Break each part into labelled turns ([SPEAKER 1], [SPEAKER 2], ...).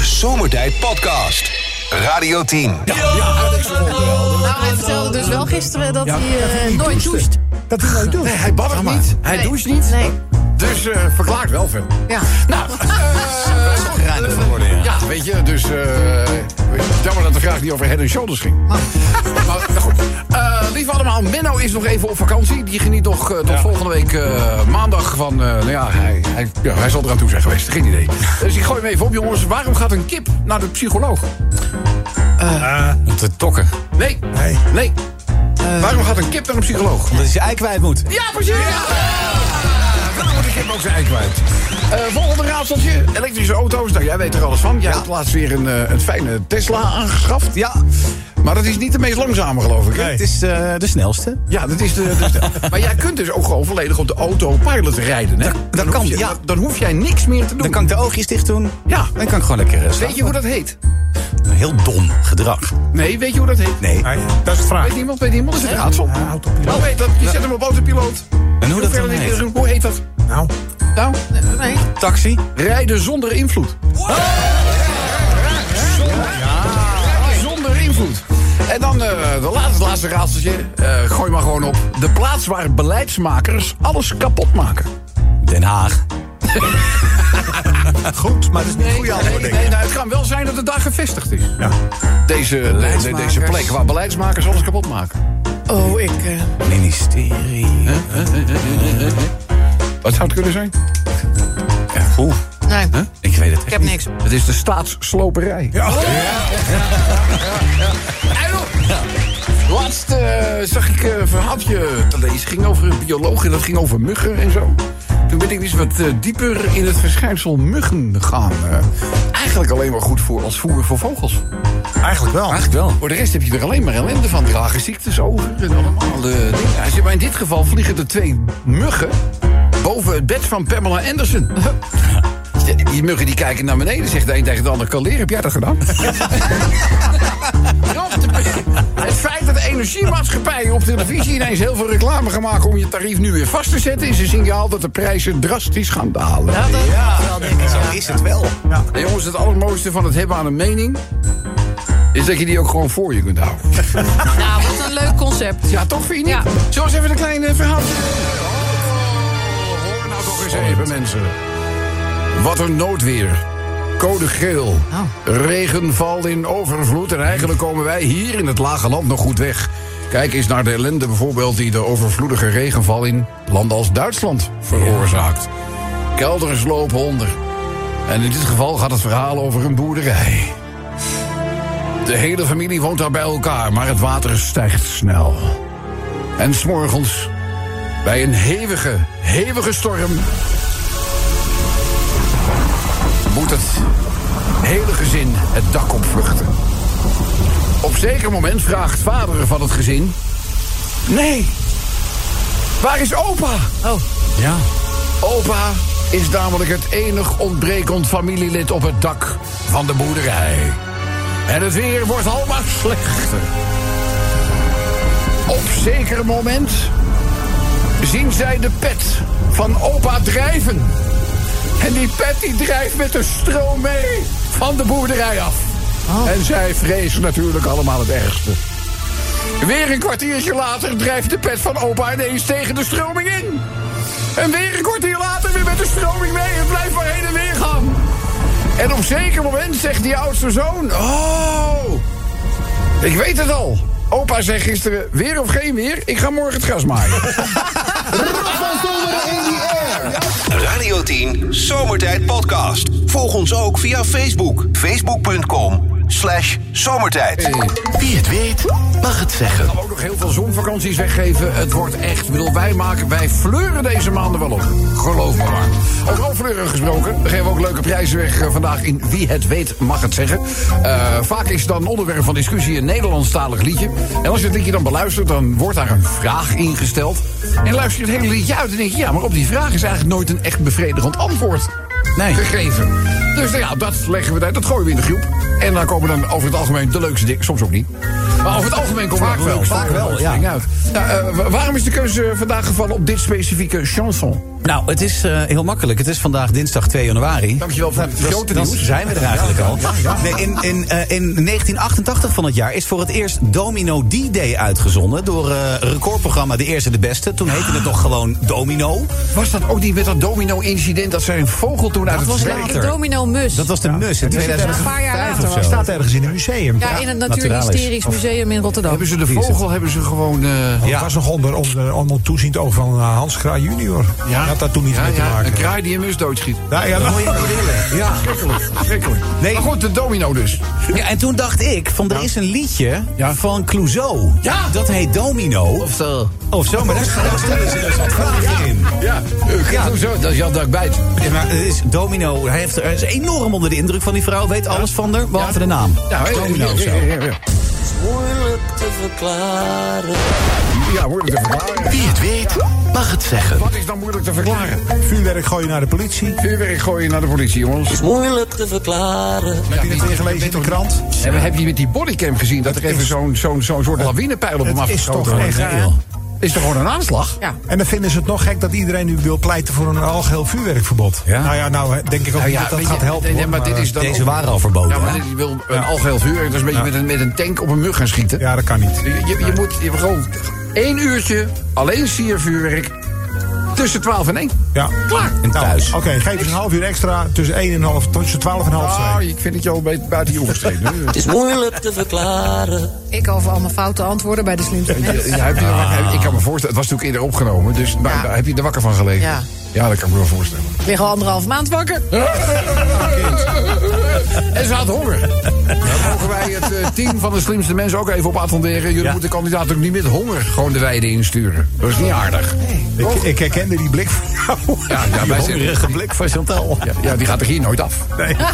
[SPEAKER 1] Zomertijd Podcast. Radio 10.
[SPEAKER 2] Nou, hij vertelde dus wel gisteren dat hij eh, nooit doucht.
[SPEAKER 3] Dat hij nooit doet.
[SPEAKER 4] Nee, hij babbelt
[SPEAKER 3] Waarom
[SPEAKER 4] niet. Hij
[SPEAKER 2] Nee.
[SPEAKER 4] doucht niet.
[SPEAKER 2] Nee.
[SPEAKER 4] Dus eh, verklaart wel veel.
[SPEAKER 2] Ja.
[SPEAKER 4] Nou,
[SPEAKER 5] Gereinigd geworden, ja.
[SPEAKER 4] ja, weet je, dus... eh, weet je, jammer dat de vraag niet over Head and Shoulders ging. Maar goed. Eh, lieve allemaal, Menno is nog even op vakantie. Die geniet nog eh, tot volgende week eh, maandag van... eh, nou ja hij, hij, ja, hij zal eraan toe zijn geweest. Geen idee. Dus ik gooi hem even op, jongens. Waarom gaat een kip naar de psycholoog?
[SPEAKER 5] Om te tokken.
[SPEAKER 4] Eh. Nee. Nee. Waarom gaat een kip naar een psycholoog?
[SPEAKER 5] Omdat hij zijn ei kwijt moet.
[SPEAKER 4] Ja, precies! Ja! Nou, want ik heb ook zijn ei kwijt. Eh, volgende raadseltje. Elektrische auto's. Nou, jij weet er alles van. Jij hebt laatst weer een, eh, een fijne Tesla aangeschaft.
[SPEAKER 5] Ja,
[SPEAKER 4] Maar dat is niet de meest langzame, geloof ik. hè?
[SPEAKER 5] het is eh, de snelste.
[SPEAKER 4] Ja, dat is de... dat is de- maar jij kunt dus ook gewoon volledig op de autopilot rijden, hè?
[SPEAKER 5] dat
[SPEAKER 4] hoef
[SPEAKER 5] kan,
[SPEAKER 4] je-
[SPEAKER 5] ja.
[SPEAKER 4] Dan, dan hoef jij niks meer te doen.
[SPEAKER 5] Dan kan ik de oogjes dicht doen.
[SPEAKER 4] Ja.
[SPEAKER 5] Dan kan ik gewoon lekker eh,
[SPEAKER 4] Weet
[SPEAKER 5] slapen.
[SPEAKER 4] je hoe dat heet?
[SPEAKER 5] Heel dom gedrag.
[SPEAKER 4] Nee, weet je hoe dat heet?
[SPEAKER 5] Nee.
[SPEAKER 3] dat is de vraag.
[SPEAKER 4] Weet niemand? Weet niemand? Dat is het raadsel.
[SPEAKER 3] Autopiloot.
[SPEAKER 4] Oh, weet dat. Je zet hem op autopiloot.
[SPEAKER 5] En hoe
[SPEAKER 4] Hoeveel
[SPEAKER 5] dat dan
[SPEAKER 4] in-
[SPEAKER 5] heet?
[SPEAKER 4] Hoe heet dat?
[SPEAKER 3] Nou,
[SPEAKER 4] Nou,
[SPEAKER 2] Nee.
[SPEAKER 5] Taxi.
[SPEAKER 4] rijden zonder invloed. Zonder invloed. En dan eh de laatste, laatste raadseltje. Eh, gooi maar gewoon op. De plaats waar beleidsmakers alles kapot maken.
[SPEAKER 5] Den Haag.
[SPEAKER 3] goed, maar dat is niet goed.
[SPEAKER 4] nee, nee, nou, het kan wel zijn dat het daar gevestigd is.
[SPEAKER 3] Ja.
[SPEAKER 4] Deze, eh, de- de- deze plek waar beleidsmakers alles kapot maken.
[SPEAKER 2] Oh, ik... eh,
[SPEAKER 5] Ministerie.
[SPEAKER 4] Wat zou het kunnen zijn?
[SPEAKER 5] Ja, poeh.
[SPEAKER 2] nee,
[SPEAKER 5] Ik weet het echt
[SPEAKER 2] ik heb
[SPEAKER 5] niet.
[SPEAKER 2] niks.
[SPEAKER 4] Het is de staatssloperij.
[SPEAKER 3] Ja.
[SPEAKER 4] Laatst eh, zag ik eh, een verhaaltje te lezen. ging over een bioloog en dat ging over muggen en zo. Toen ben ik eens wat eh, dieper in het verschijnsel muggen gaan. eh. eigenlijk alleen maar goed voor als voer voor vogels.
[SPEAKER 3] Eigenlijk wel.
[SPEAKER 5] Eigenlijk wel.
[SPEAKER 4] Voor de rest heb je er alleen maar ellende van. Dragen ziektes over en allemaal eh, dingen. Hij zei, maar in dit geval vliegen er twee muggen boven het bed van Pamela Anderson. Die muggen die kijken naar beneden, zegt de een tegen de ander... Kaleer, heb jij dat gedaan? Ja, het feit dat de energiemaatschappijen op televisie ineens heel veel reclame gaan maken... om je tarief nu weer vast te zetten... is een signaal dat de prijzen drastisch gaan dalen.
[SPEAKER 2] Ja, eh, dat wel denk ik. ja.
[SPEAKER 5] Is het wel?
[SPEAKER 4] En jongens, het allermooiste van het hebben aan een mening... is dat je die ook gewoon voor je kunt houden.
[SPEAKER 2] Nou, wat een leuk concept.
[SPEAKER 4] Ja, toch vind je niet?
[SPEAKER 2] Ja.
[SPEAKER 4] Zo eens even een klein eh, verhaaltje. Hoor nou toch eens even, mensen. Wat een noodweer. Code geel.
[SPEAKER 2] Oh.
[SPEAKER 4] Regenval in overvloed. En eigenlijk komen wij hier in het lage land nog goed weg. Kijk eens naar de ellende bijvoorbeeld die de overvloedige regenval in landen als Duitsland veroorzaakt. Kelders lopen onder. En in dit geval gaat het verhaal over een boerderij. De hele familie woont daar bij elkaar, maar het water stijgt snel. En s'morgens, bij een hevige, hevige storm... moet het hele gezin het dak opvluchten. Op zeker moment vraagt vader van het gezin... Nee, waar is opa?
[SPEAKER 5] Ja.
[SPEAKER 4] Opa is namelijk het enig ontbrekend familielid op het dak van de boerderij. En het weer wordt al maar slechter. Op zeker moment zien zij de pet van opa drijven. En die pet die drijft met de stroom mee van de boerderij af. En zij vrezen natuurlijk allemaal het ergste. Weer een kwartiertje later drijft de pet van opa ineens tegen de stroming in. En weer een kwartier later weer met de stroming mee. Het blijft maar heen en weer gaan. En op zeker moment zegt die oudste zoon... Oh, ik weet het al. Opa zei gisteren, weer of geen weer, ik ga morgen het gras maaien.
[SPEAKER 1] Radio 10 Zomertijd Podcast. Volg ons ook via Facebook. Facebook.com slash zomertijd.
[SPEAKER 4] Wie het weet, mag het zeggen. We gaan ook nog heel veel zonvakanties weggeven. Het wordt echt, ik bedoel, wij maken, wij fleuren deze maanden wel op. Geloof me maar. Ook over fleuren gesproken. We geven ook leuke prijzen weg eh, vandaag in Wie het weet, mag het zeggen. Eh, vaak is dan onderwerp van discussie een Nederlandstalig liedje. En als je het liedje dan beluistert, dan wordt daar een vraag ingesteld. En luister je het hele liedje uit en denk je, ja, maar op die vraag is eigenlijk nooit een echt bevredigend antwoord
[SPEAKER 5] Nee.
[SPEAKER 4] gegeven. Dus nou ja, dat leggen we daar, dat gooien we in de groep. En dan komen dan over het algemeen de leukste dingen, soms ook niet. Maar over het algemeen komt
[SPEAKER 3] Vaak
[SPEAKER 4] dat
[SPEAKER 3] wel,
[SPEAKER 4] leuk
[SPEAKER 3] vaak wel,
[SPEAKER 4] wel
[SPEAKER 3] ja.
[SPEAKER 4] ding uit. Nou, eh, wa- waarom is de keuze vandaag gevallen op dit specifieke chanson?
[SPEAKER 5] Nou, het is eh, heel makkelijk. Het is vandaag dinsdag 2 januari.
[SPEAKER 4] Dankjewel voor het
[SPEAKER 5] Dat-
[SPEAKER 4] grote
[SPEAKER 5] dat
[SPEAKER 4] nieuws.
[SPEAKER 5] zijn we er eigenlijk al. Nee, in, in, eh, in 1988 van het jaar is voor het eerst Domino D-Day uitgezonden... door eh, recordprogramma De Eerste De Beste. Toen heette het nog gewoon Domino.
[SPEAKER 4] Was dat ook die met dat domino-incident dat zij een vogel toen uit het
[SPEAKER 5] was
[SPEAKER 4] zweet...
[SPEAKER 5] later.
[SPEAKER 2] De domino mus.
[SPEAKER 5] Dat was de mus in
[SPEAKER 2] een
[SPEAKER 5] 2000.
[SPEAKER 2] paar jaar later.
[SPEAKER 5] zo.
[SPEAKER 3] staat ergens in een museum.
[SPEAKER 2] Ja, in het Natuurlijk
[SPEAKER 5] Naturalis.
[SPEAKER 2] Hysterisch Museum in Rotterdam.
[SPEAKER 4] Hebben ze de vogel, hebben ze gewoon... eh,
[SPEAKER 3] Het
[SPEAKER 5] Ja.
[SPEAKER 3] was nog onder, onder, onder toeziend oog van eh, Hans Kraaij junior. Ja. Had daar toen niets
[SPEAKER 4] ja,
[SPEAKER 3] mee te
[SPEAKER 4] ja,
[SPEAKER 3] maken.
[SPEAKER 4] Een kraai die een mus doodschiet.
[SPEAKER 3] Ja, ja, dat-
[SPEAKER 4] Ja, schrikkelijk, schrikkelijk.
[SPEAKER 5] Nee.
[SPEAKER 4] Maar goed, de domino dus.
[SPEAKER 5] Ja, en toen dacht ik, van er is een liedje
[SPEAKER 4] Ja.
[SPEAKER 5] van Clouseau.
[SPEAKER 4] Ja.
[SPEAKER 5] Dat heet Domino.
[SPEAKER 4] zo.
[SPEAKER 5] Of zo, maar daar daar stellen ze dus wat vragen in.
[SPEAKER 4] Ja, eh, zo, dat is Jan Dakbijt.
[SPEAKER 5] Ja, maar het is Domino, hij, heeft, hij is enorm onder de indruk van die vrouw. Weet alles van haar, behalve de naam.
[SPEAKER 4] Nou,
[SPEAKER 5] Domino of zo.
[SPEAKER 6] Moeilijk te verklaren.
[SPEAKER 4] Ja, moeilijk te verklaren.
[SPEAKER 7] Wie het weet, mag het zeggen.
[SPEAKER 4] Wat is dan moeilijk te verklaren?
[SPEAKER 3] Vuurwerk gooien naar de politie.
[SPEAKER 4] Vuurwerk gooien naar de politie, jongens.
[SPEAKER 6] Is moeilijk te verklaren.
[SPEAKER 4] nou
[SPEAKER 3] Heb je het weer gelezen in de krant?
[SPEAKER 4] En we hebben je met die bodycam gezien dat er even
[SPEAKER 3] is-
[SPEAKER 4] zo'n zo'n zo'n soort lawinepeil op hem
[SPEAKER 3] Het is
[SPEAKER 4] afgeschoten
[SPEAKER 3] toch
[SPEAKER 4] wordt.
[SPEAKER 3] echt
[SPEAKER 4] Ja,
[SPEAKER 3] heel.
[SPEAKER 4] Is er gewoon een aanslag?
[SPEAKER 2] Ja.
[SPEAKER 3] En dan vinden ze het nog gek dat iedereen nu wil pleiten voor een algeheel vuurwerkverbod.
[SPEAKER 5] Ja.
[SPEAKER 3] Nou ja, nou eh, denk ik ook
[SPEAKER 4] Nou
[SPEAKER 3] niet
[SPEAKER 4] ja,
[SPEAKER 3] dat dat
[SPEAKER 4] weet je,
[SPEAKER 3] gaat helpen.
[SPEAKER 4] nee,
[SPEAKER 3] hoor,
[SPEAKER 4] maar dit
[SPEAKER 3] eh,
[SPEAKER 4] is dan
[SPEAKER 5] Deze
[SPEAKER 4] ook-
[SPEAKER 5] waren al verboden,
[SPEAKER 4] Ja, maar
[SPEAKER 5] hè?
[SPEAKER 4] dit is wel een algeheel vuur. Dat is een beetje met, een, met een tank op een mug gaan schieten.
[SPEAKER 3] Ja, dat kan niet.
[SPEAKER 4] Je, je, je moet je, gewoon één uurtje alleen siervuurwerk tussen 12 en 1.
[SPEAKER 3] Ja.
[SPEAKER 4] Klaar.
[SPEAKER 5] En
[SPEAKER 3] Nou,
[SPEAKER 5] thuis.
[SPEAKER 3] Oké, geef eens een half uur extra tussen 1 en half, tussen 12 en half
[SPEAKER 4] Oh,
[SPEAKER 3] 2.
[SPEAKER 4] ik vind het je al bij- buiten je overstreden.
[SPEAKER 6] Is moeilijk te verklaren.
[SPEAKER 2] Ik over allemaal foute antwoorden bij de slimste
[SPEAKER 4] Ja,
[SPEAKER 2] mensen.
[SPEAKER 4] heb je er wakker- heb- ik kan me voorstellen, het was natuurlijk eerder opgenomen, dus maar,
[SPEAKER 2] Ah. Ja.
[SPEAKER 4] maar heb je er wakker van gelegen?
[SPEAKER 2] Ja.
[SPEAKER 4] ja, dat kan ik me wel voorstellen.
[SPEAKER 2] Ik lig al anderhalf maand wakker.
[SPEAKER 4] En ze had honger. Dan mogen wij het eh, team van de slimste mensen ook even op attenderen. Jullie
[SPEAKER 5] Ja.
[SPEAKER 4] moeten kandidaat ook niet met honger gewoon de weide insturen. Dat is niet aardig.
[SPEAKER 3] Ik, ik herkende die blik van jou.
[SPEAKER 4] Ja, ja,
[SPEAKER 3] die
[SPEAKER 4] wij
[SPEAKER 3] hongerige
[SPEAKER 4] zitten-
[SPEAKER 3] blik van Chantal.
[SPEAKER 4] Ja, ja, die gaat er hier nooit af.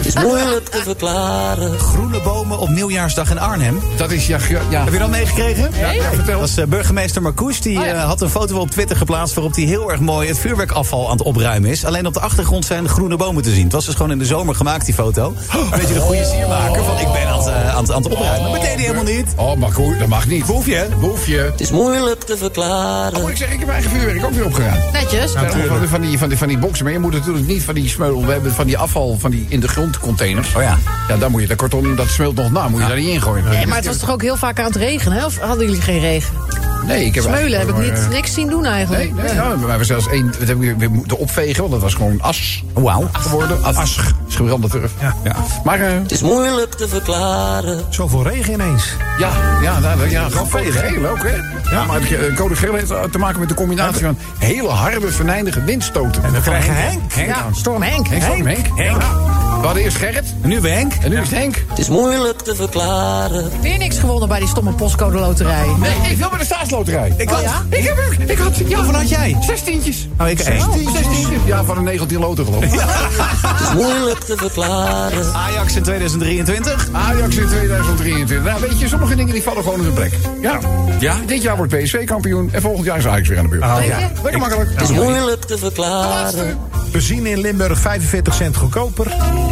[SPEAKER 6] Is moeilijk te verklaren.
[SPEAKER 5] Groene bomen op nieuwjaarsdag in Arnhem.
[SPEAKER 4] Dat is ja, ja, ja.
[SPEAKER 5] Heb je dat meegekregen?
[SPEAKER 4] ja, vertel.
[SPEAKER 5] Dat is eh, burgemeester Marcouch. Die
[SPEAKER 2] Oh ja.
[SPEAKER 5] eh, had een foto op Twitter geplaatst waarop hij heel erg mooi het vuurwerkafval aan het opruimen is. Alleen op de achtergrond zijn groene bomen te zien. Het was dus gewoon in de zomer gemaakt, die foto. Een beetje de goede siermaker van ik ben aan het, eh, aan het, aan het opruimen. Maar dat deed hij helemaal niet.
[SPEAKER 4] Oh, maar goed, dat mag niet.
[SPEAKER 5] Boefje, hè?
[SPEAKER 4] Boefje.
[SPEAKER 6] Is moeilijk te
[SPEAKER 4] Moet
[SPEAKER 6] verklaren.
[SPEAKER 4] ik zeggen, ik heb mijn eigen vuurwerk ook weer opgegaan.
[SPEAKER 2] Netjes.
[SPEAKER 4] Ja, Van, die- van, die, van, die, van die boxen. Maar je moet natuurlijk niet van die smeul. We hebben van die afval van die in de grond containers.
[SPEAKER 5] Oh ja.
[SPEAKER 4] Ja, daar moet je. Dat kortom, dat smeult nog na. Moet je daar niet in gooien.
[SPEAKER 2] Nee, maar het was toch ook heel vaak aan het regenen, hè? Of hadden jullie geen regen?
[SPEAKER 4] Nee, ik heb
[SPEAKER 2] Smeulen heb ik
[SPEAKER 4] eigenlijk
[SPEAKER 2] niet,
[SPEAKER 4] maar, eh,
[SPEAKER 2] niks zien doen eigenlijk.
[SPEAKER 4] Nee, nee, nou, maar we zelfs één. Dat hebben we weer moeten opvegen, want dat was gewoon as
[SPEAKER 5] Wauw.
[SPEAKER 4] geworden. As. as. Is gebrande turf. Ja. Maar eh,
[SPEAKER 6] Is moeilijk te verklaren.
[SPEAKER 3] Zoveel regen ineens.
[SPEAKER 4] ja, ja, nou, dat- ja, gewoon code geel ook, hè? Ja, maar het ge- eh, code geel heeft te maken met de combinatie van hele harde, venijnige windstoten. En
[SPEAKER 3] We krijgen Henk.
[SPEAKER 4] Ja,
[SPEAKER 3] Storm Henk.
[SPEAKER 4] Henk, Henk. Henk. Ja. We hadden eerst Gerrit
[SPEAKER 5] En nu weer Henk.
[SPEAKER 4] en nu is het Henk.
[SPEAKER 6] Is moeilijk te verklaren.
[SPEAKER 2] Weer niks gewonnen bij die stomme postcode loterij.
[SPEAKER 4] Nee, ik wil bij de staatsloterij. Ik
[SPEAKER 2] had- Oh ja?
[SPEAKER 4] Ik heb ook. Ik had. Ja,
[SPEAKER 5] Hoeveel had jij?
[SPEAKER 4] Zestientjes.
[SPEAKER 5] Oh, ik één.
[SPEAKER 4] Zestientjes. Ja, van een 19 loten geloof ik.
[SPEAKER 6] Is moeilijk te verklaren.
[SPEAKER 5] Ajax in 2023.
[SPEAKER 4] Ajax in 2023. Nou, weet je, sommige dingen die vallen gewoon in hun plek. Ja. ja. Dit jaar wordt PSV kampioen en volgend jaar is Ajax weer aan de beurt.
[SPEAKER 3] Oh,
[SPEAKER 2] ja.
[SPEAKER 4] Lekker makkelijk.
[SPEAKER 6] Is moeilijk te verklaren.
[SPEAKER 3] Benzine in Limburg 45 cent goedkoper.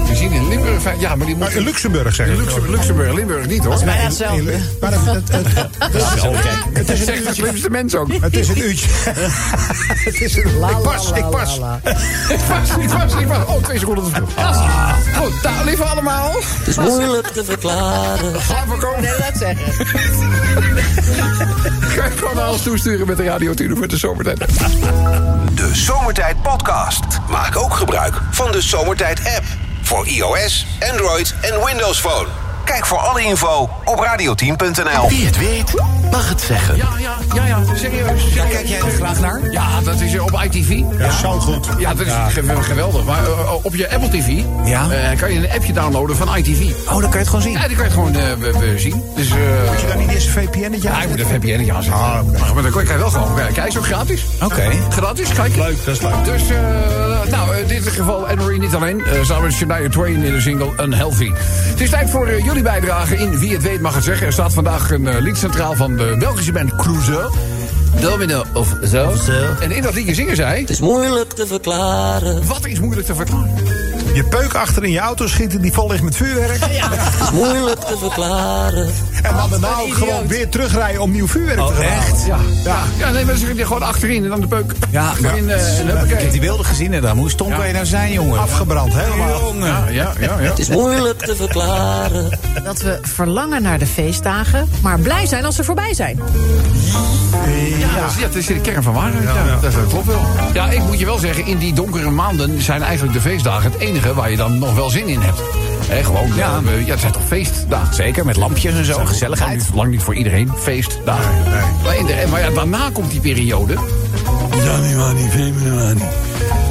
[SPEAKER 4] We zien in Limburg. vijf- Ja, maar die moet.
[SPEAKER 3] Maar in Luxemburg zeg ik.
[SPEAKER 4] Luxemburg, Luxemburg, Limburg niet hoor.
[SPEAKER 2] Bijna
[SPEAKER 3] In
[SPEAKER 2] hetzelfde.
[SPEAKER 3] Lu- Maar het, het, het-
[SPEAKER 4] Het is echt de slimste mens ook.
[SPEAKER 3] het is een uurtje. het is een, ik pas, ik pas.
[SPEAKER 4] Ik was, ik was, ik was. Oh, twee seconden te vroeg. Goed, nou, lieve allemaal.
[SPEAKER 6] Is moeilijk te verklaren.
[SPEAKER 4] Slaap
[SPEAKER 2] Nee, laat zeggen.
[SPEAKER 4] Ga ik gewoon alles toesturen met de Radio Tune voor de zomertijd.
[SPEAKER 1] De Zomertijd Podcast. Maak ook gebruik van de Zomertijd app. Voor iOS, Android en Windows Phone. Kijk voor alle info op radioteam.nl.
[SPEAKER 7] Wie het weet, mag het zeggen.
[SPEAKER 4] Ja, ja, ja, ja. Serieus.
[SPEAKER 5] Daar kijk jij er graag naar?
[SPEAKER 4] Ja, dat is eh, op ITV.
[SPEAKER 3] Ja, zo goed.
[SPEAKER 4] Ja, dat is ge- geweldig. Maar eh, op je Apple TV
[SPEAKER 5] Ja.
[SPEAKER 4] eh, kan je een appje downloaden van ITV.
[SPEAKER 5] Oh, dan kan je het gewoon zien.
[SPEAKER 4] Ja, die kan je gewoon eh, we- we zien. Dus, eh
[SPEAKER 3] Moet je dan niet eerst een VPN-etje
[SPEAKER 4] ja, ik moet een
[SPEAKER 3] aanzetten?
[SPEAKER 4] VPN aan zetten.
[SPEAKER 3] Ah, oké.
[SPEAKER 4] Maar dan kan je wel gewoon kijken. Hij is ook gratis.
[SPEAKER 5] Oké.
[SPEAKER 4] Gratis, kijk.
[SPEAKER 3] Leuk, dat is leuk.
[SPEAKER 4] Dus, eh, nou, in dit geval Anne-Marie niet alleen. eh, samen met Shania Twain in de single Unhealthy. Het is tijd voor eh, jullie bijdrage in Wie het weet mag het zeggen. Er staat vandaag een eh, lied centraal van de Belgische band Clouseau. Domino of zo. En in dat liedje zingen zij...
[SPEAKER 6] Is moeilijk te verklaren.
[SPEAKER 4] Wat is moeilijk te verklaren?
[SPEAKER 3] Je peuk achter in je auto schieten, die vol ligt met vuurwerk.
[SPEAKER 6] is moeilijk te verklaren.
[SPEAKER 3] En dan daarna
[SPEAKER 2] een
[SPEAKER 3] ook
[SPEAKER 2] idioot.
[SPEAKER 3] gewoon weer terugrijden om nieuw vuurwerk te
[SPEAKER 5] Oh,
[SPEAKER 3] gaan halen.
[SPEAKER 5] echt?
[SPEAKER 4] Ja, ja. ja nee, maar ze die gewoon achterin en dan de peuk.
[SPEAKER 5] Ja,
[SPEAKER 4] achterin.
[SPEAKER 5] ja.
[SPEAKER 4] eh, en
[SPEAKER 5] Ik heb
[SPEAKER 4] huppakee.
[SPEAKER 5] die beelden gezien en dan. Hoe stom kan je nou zijn, jongen?
[SPEAKER 3] Afgebrand, helemaal.
[SPEAKER 5] Jongen.
[SPEAKER 4] ja, ja, ja.
[SPEAKER 6] Het is moeilijk te verklaren.
[SPEAKER 2] Dat we verlangen naar de feestdagen, maar blij zijn als ze voorbij zijn.
[SPEAKER 4] Ja, dat is- ja, dat is de kern van waarheid. Ja, Dat, dat klopt wel. Ja, ik moet je wel zeggen, in die donkere maanden zijn eigenlijk de feestdagen het enige waar je dan nog wel zin in hebt. Hè, gewoon, ja. ja, het zijn toch feestdagen?
[SPEAKER 5] Zeker, met lampjes en zo.
[SPEAKER 4] Lang
[SPEAKER 5] Gezelligheid.
[SPEAKER 4] niet, lang niet voor iedereen, feestdagen. Maar, in de- maar ja, daarna komt die periode
[SPEAKER 3] Januari, februari.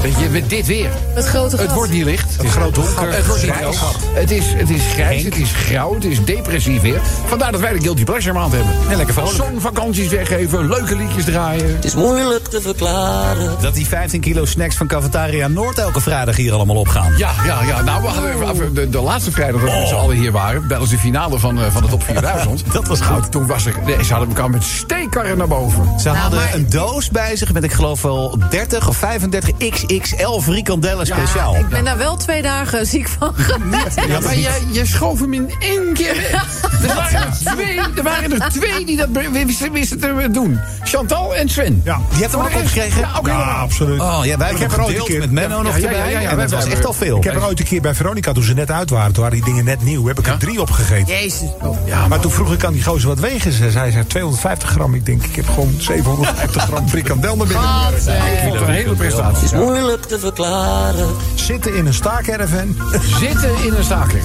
[SPEAKER 4] dat je met dit weer.
[SPEAKER 2] Het grote
[SPEAKER 4] Het
[SPEAKER 2] gat.
[SPEAKER 4] wordt niet licht. Het
[SPEAKER 3] is groot donker.
[SPEAKER 4] Het wordt niet
[SPEAKER 3] Grijs.
[SPEAKER 4] rood. Het is, het is grijs, het is grauw, het is depressief weer. Vandaar dat wij de Guilty Pleasure maand hebben.
[SPEAKER 5] Ja, lekker vrolijk.
[SPEAKER 4] Zonvakanties weggeven, leuke liedjes draaien.
[SPEAKER 6] Het is moeilijk te verklaren.
[SPEAKER 5] Dat die 15 kilo snacks van Cafetaria Noord elke vrijdag hier allemaal opgaan.
[SPEAKER 4] Ja, ja, ja. Nou, we hadden, de, de laatste vrijdag
[SPEAKER 3] Oh.
[SPEAKER 4] dat we met z'n allen hier waren... tijdens de finale van, eh, van de top 4000.
[SPEAKER 5] Dat was goud.
[SPEAKER 4] Toen, toen was er... Nee, ze hadden elkaar met steekkarren naar boven.
[SPEAKER 5] Ze hadden
[SPEAKER 2] maar-
[SPEAKER 5] een doos bij zich met, ik geloof wel, 30 of 35 XXL frikandellen speciaal. Oh,
[SPEAKER 2] Ik ben daar wel twee dagen ziek van geweest.
[SPEAKER 4] Ja, maar je, je schoof hem in één keer weg. Er waren er twee, er waren er twee die dat be- wisten, wisten te doen. Chantal en Sven.
[SPEAKER 3] Ja.
[SPEAKER 5] Die hebt hem ook opgekregen?
[SPEAKER 4] Ja, ook
[SPEAKER 3] Ja,
[SPEAKER 4] helemaal.
[SPEAKER 3] absoluut.
[SPEAKER 5] Oh ja, wij
[SPEAKER 3] Ik
[SPEAKER 5] hebben
[SPEAKER 3] heb
[SPEAKER 5] hem
[SPEAKER 3] er ooit een
[SPEAKER 5] gedeeld
[SPEAKER 3] keer-
[SPEAKER 5] met Menno
[SPEAKER 4] Ja,
[SPEAKER 5] nog
[SPEAKER 4] ja, ja,
[SPEAKER 5] erbij.
[SPEAKER 4] ja, ja,
[SPEAKER 5] en dat
[SPEAKER 4] wij
[SPEAKER 5] was echt
[SPEAKER 4] hebben-
[SPEAKER 5] al veel.
[SPEAKER 3] Ik heb er ooit een keer bij Veronica, toen ze net uit waren, toen waren die dingen net nieuw, heb ik er drie opgegeten.
[SPEAKER 2] Jezus.
[SPEAKER 4] Ja, maar
[SPEAKER 3] Maar toen vroeg ik aan die gozer wat wegen ze. Zij zei 250 gram. Ik denk, ik heb gewoon 750 gram frikandel naar binnen.
[SPEAKER 4] ik vond het een hele prestatie.
[SPEAKER 6] Het is moeilijk te verklaren.
[SPEAKER 3] Zitten in een staakerven.
[SPEAKER 4] Zitten in een staking.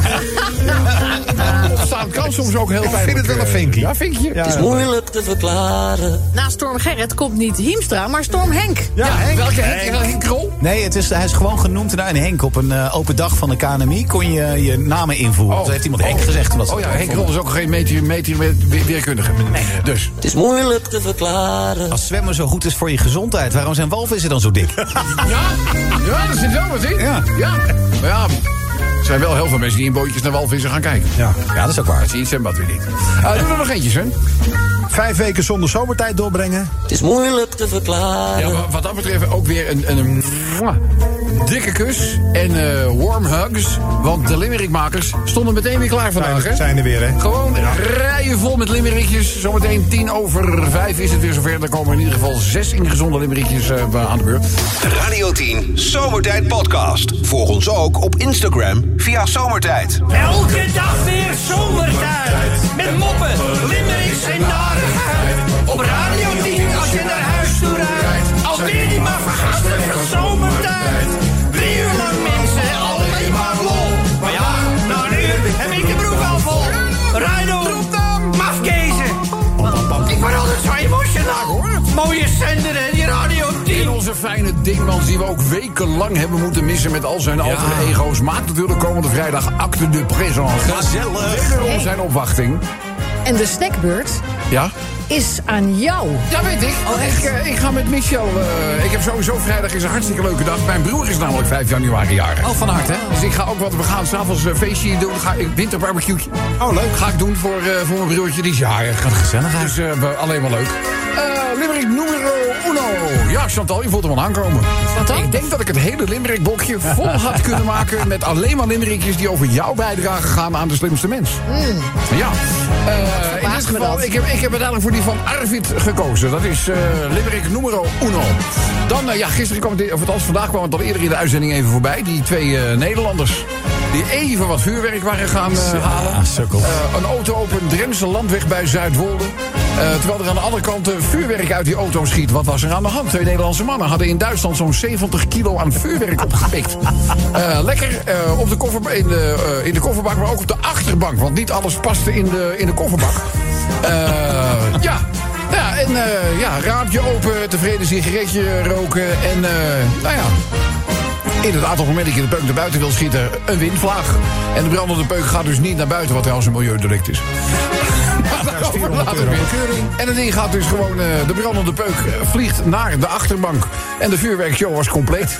[SPEAKER 4] Staan kan soms ook heel
[SPEAKER 3] Ik
[SPEAKER 4] pijnlijk.
[SPEAKER 3] vind het wel een
[SPEAKER 4] eh,
[SPEAKER 3] vinkje.
[SPEAKER 4] Ja, vinkje.
[SPEAKER 3] Ja.
[SPEAKER 6] Het is moeilijk te verklaren.
[SPEAKER 2] Na Nou, Storm Gerrit komt niet Hiemstra, maar Storm Henk.
[SPEAKER 4] Ja, welke Henk? Wel Henk Krol?
[SPEAKER 5] Nee, het is, hij is gewoon genoemd naar een Henk. Op een eh, open dag van de KNMI kon je je namen invoeren. Dus heeft iemand Henk
[SPEAKER 4] Oh.
[SPEAKER 5] gezegd. omdat ze
[SPEAKER 4] Oh ja,
[SPEAKER 5] het
[SPEAKER 4] Henk
[SPEAKER 5] leuk
[SPEAKER 4] Krol is ook geen meteor, meteor, weer- weerkundige. Dus.
[SPEAKER 6] Het is moeilijk te verklaren.
[SPEAKER 5] Als zwemmen zo goed is voor je gezondheid, waarom zijn walvissen dan zo dik?
[SPEAKER 4] Ja, ja er zit wel wat in.
[SPEAKER 5] Ja.
[SPEAKER 4] ja. Maar ja, er zijn wel heel veel mensen die in bootjes naar walvissen gaan kijken.
[SPEAKER 3] Ja.
[SPEAKER 5] Ja, dat is ook waar.
[SPEAKER 4] Dat zie je in het zwembad weer niet. Eh doe er nog eentje, Sven.
[SPEAKER 3] Vijf weken zonder zomertijd doorbrengen.
[SPEAKER 6] Het is moeilijk te
[SPEAKER 4] Ja,
[SPEAKER 6] verklaren.
[SPEAKER 4] wa- wat dat betreft ook weer een, een, een mwah, dikke kus en eh, warm hugs. Want de limerickmakers stonden meteen weer klaar vandaag. Hè?
[SPEAKER 3] Zijn er weer, hè?
[SPEAKER 4] Gewoon rijen vol met limerickjes. Zometeen tien over vijf is het weer zover. Dan komen in ieder geval zes ingezonde limerickjes eh, aan de beurt.
[SPEAKER 1] Radio 10 Zomertijd Podcast. Volg ons ook op Instagram via Zomertijd.
[SPEAKER 8] Elke dag weer zomertijd. Met moppen, limericks en narigheid. Op Radio 10 als je naar huis toe rijdt. Alweer die maar vergastige zomertijd. Drie uur lang mensen, alleen maar lol. Maar ja, nou nu heb ik de broek al vol. Rijdel, mafkezen. Ik word altijd zo emotional. Mooie zender en die Radio 10.
[SPEAKER 4] In onze fijne Dingmans, die we ook wekenlang hebben moeten missen met al zijn alter ego's, maakt natuurlijk komende vrijdag acte de présence.
[SPEAKER 5] Gezellig.
[SPEAKER 4] Wederom zijn opwachting.
[SPEAKER 2] En de snackbeurt
[SPEAKER 4] Ja?
[SPEAKER 2] is aan jou.
[SPEAKER 4] Ja, weet ik.
[SPEAKER 5] Oh,
[SPEAKER 4] ik, eh, ik ga met Michel. eh, ik heb sowieso vrijdag is een hartstikke leuke dag. Mijn broer is namelijk 5 januari jarig.
[SPEAKER 5] Oh, van harte.
[SPEAKER 4] Dus ik ga ook wat, we gaan s'avonds een feestje doen. Ga ik winterbarbecue.
[SPEAKER 3] Oh, leuk.
[SPEAKER 4] Ga ik doen voor, eh, voor mijn broertje, die is jarig. Wat
[SPEAKER 5] gezellig, hè?
[SPEAKER 4] Dus eh, we- alleen maar leuk. Eh Limerick numero uno. Ja, Chantal, je voelt hem al aankomen.
[SPEAKER 2] Wat dan?
[SPEAKER 4] Ik denk dat ik het hele Limerick-blokje vol had kunnen maken... met alleen maar Limerickjes die over jouw bijdrage gaan aan de slimste mens. Ja. Eh, in dit
[SPEAKER 2] me
[SPEAKER 4] geval,
[SPEAKER 2] dat.
[SPEAKER 4] ik heb, ik heb uiteindelijk voor die van Arvid gekozen. Dat is eh Limerick numero uno. Dan, eh, ja, gisteren kwam het, of althans vandaag kwam het al eerder in de uitzending even voorbij. Die twee eh, Nederlanders die even wat vuurwerk waren gaan eh, halen.
[SPEAKER 5] Ah, sukkel.
[SPEAKER 4] Eh, een auto op een Drentse landweg bij Zuidwolde. Eh, terwijl er aan de andere kant eh, vuurwerk uit die auto schiet. Wat was er aan de hand? Twee Nederlandse mannen hadden in Duitsland zo'n 70 kilo aan vuurwerk opgepikt. Eh, lekker eh, op de koffer, in, de, eh, in de kofferbak, maar ook op de achterbank. Want niet alles paste in de, in de kofferbak. Eh, ja. ja, en eh, ja, raampje open, tevreden sigaretje roken. En eh, nou ja, in het aantal momenten dat je de peuk naar buiten wil schieten, een windvlaag. En de brandende peuk gaat dus niet naar buiten, wat trouwens een milieudelict is. Daar sturen we later weer. En het ding gaat dus gewoon... eh, de brandende peuk eh, vliegt naar de achterbank. En de vuurwerkshow was compleet.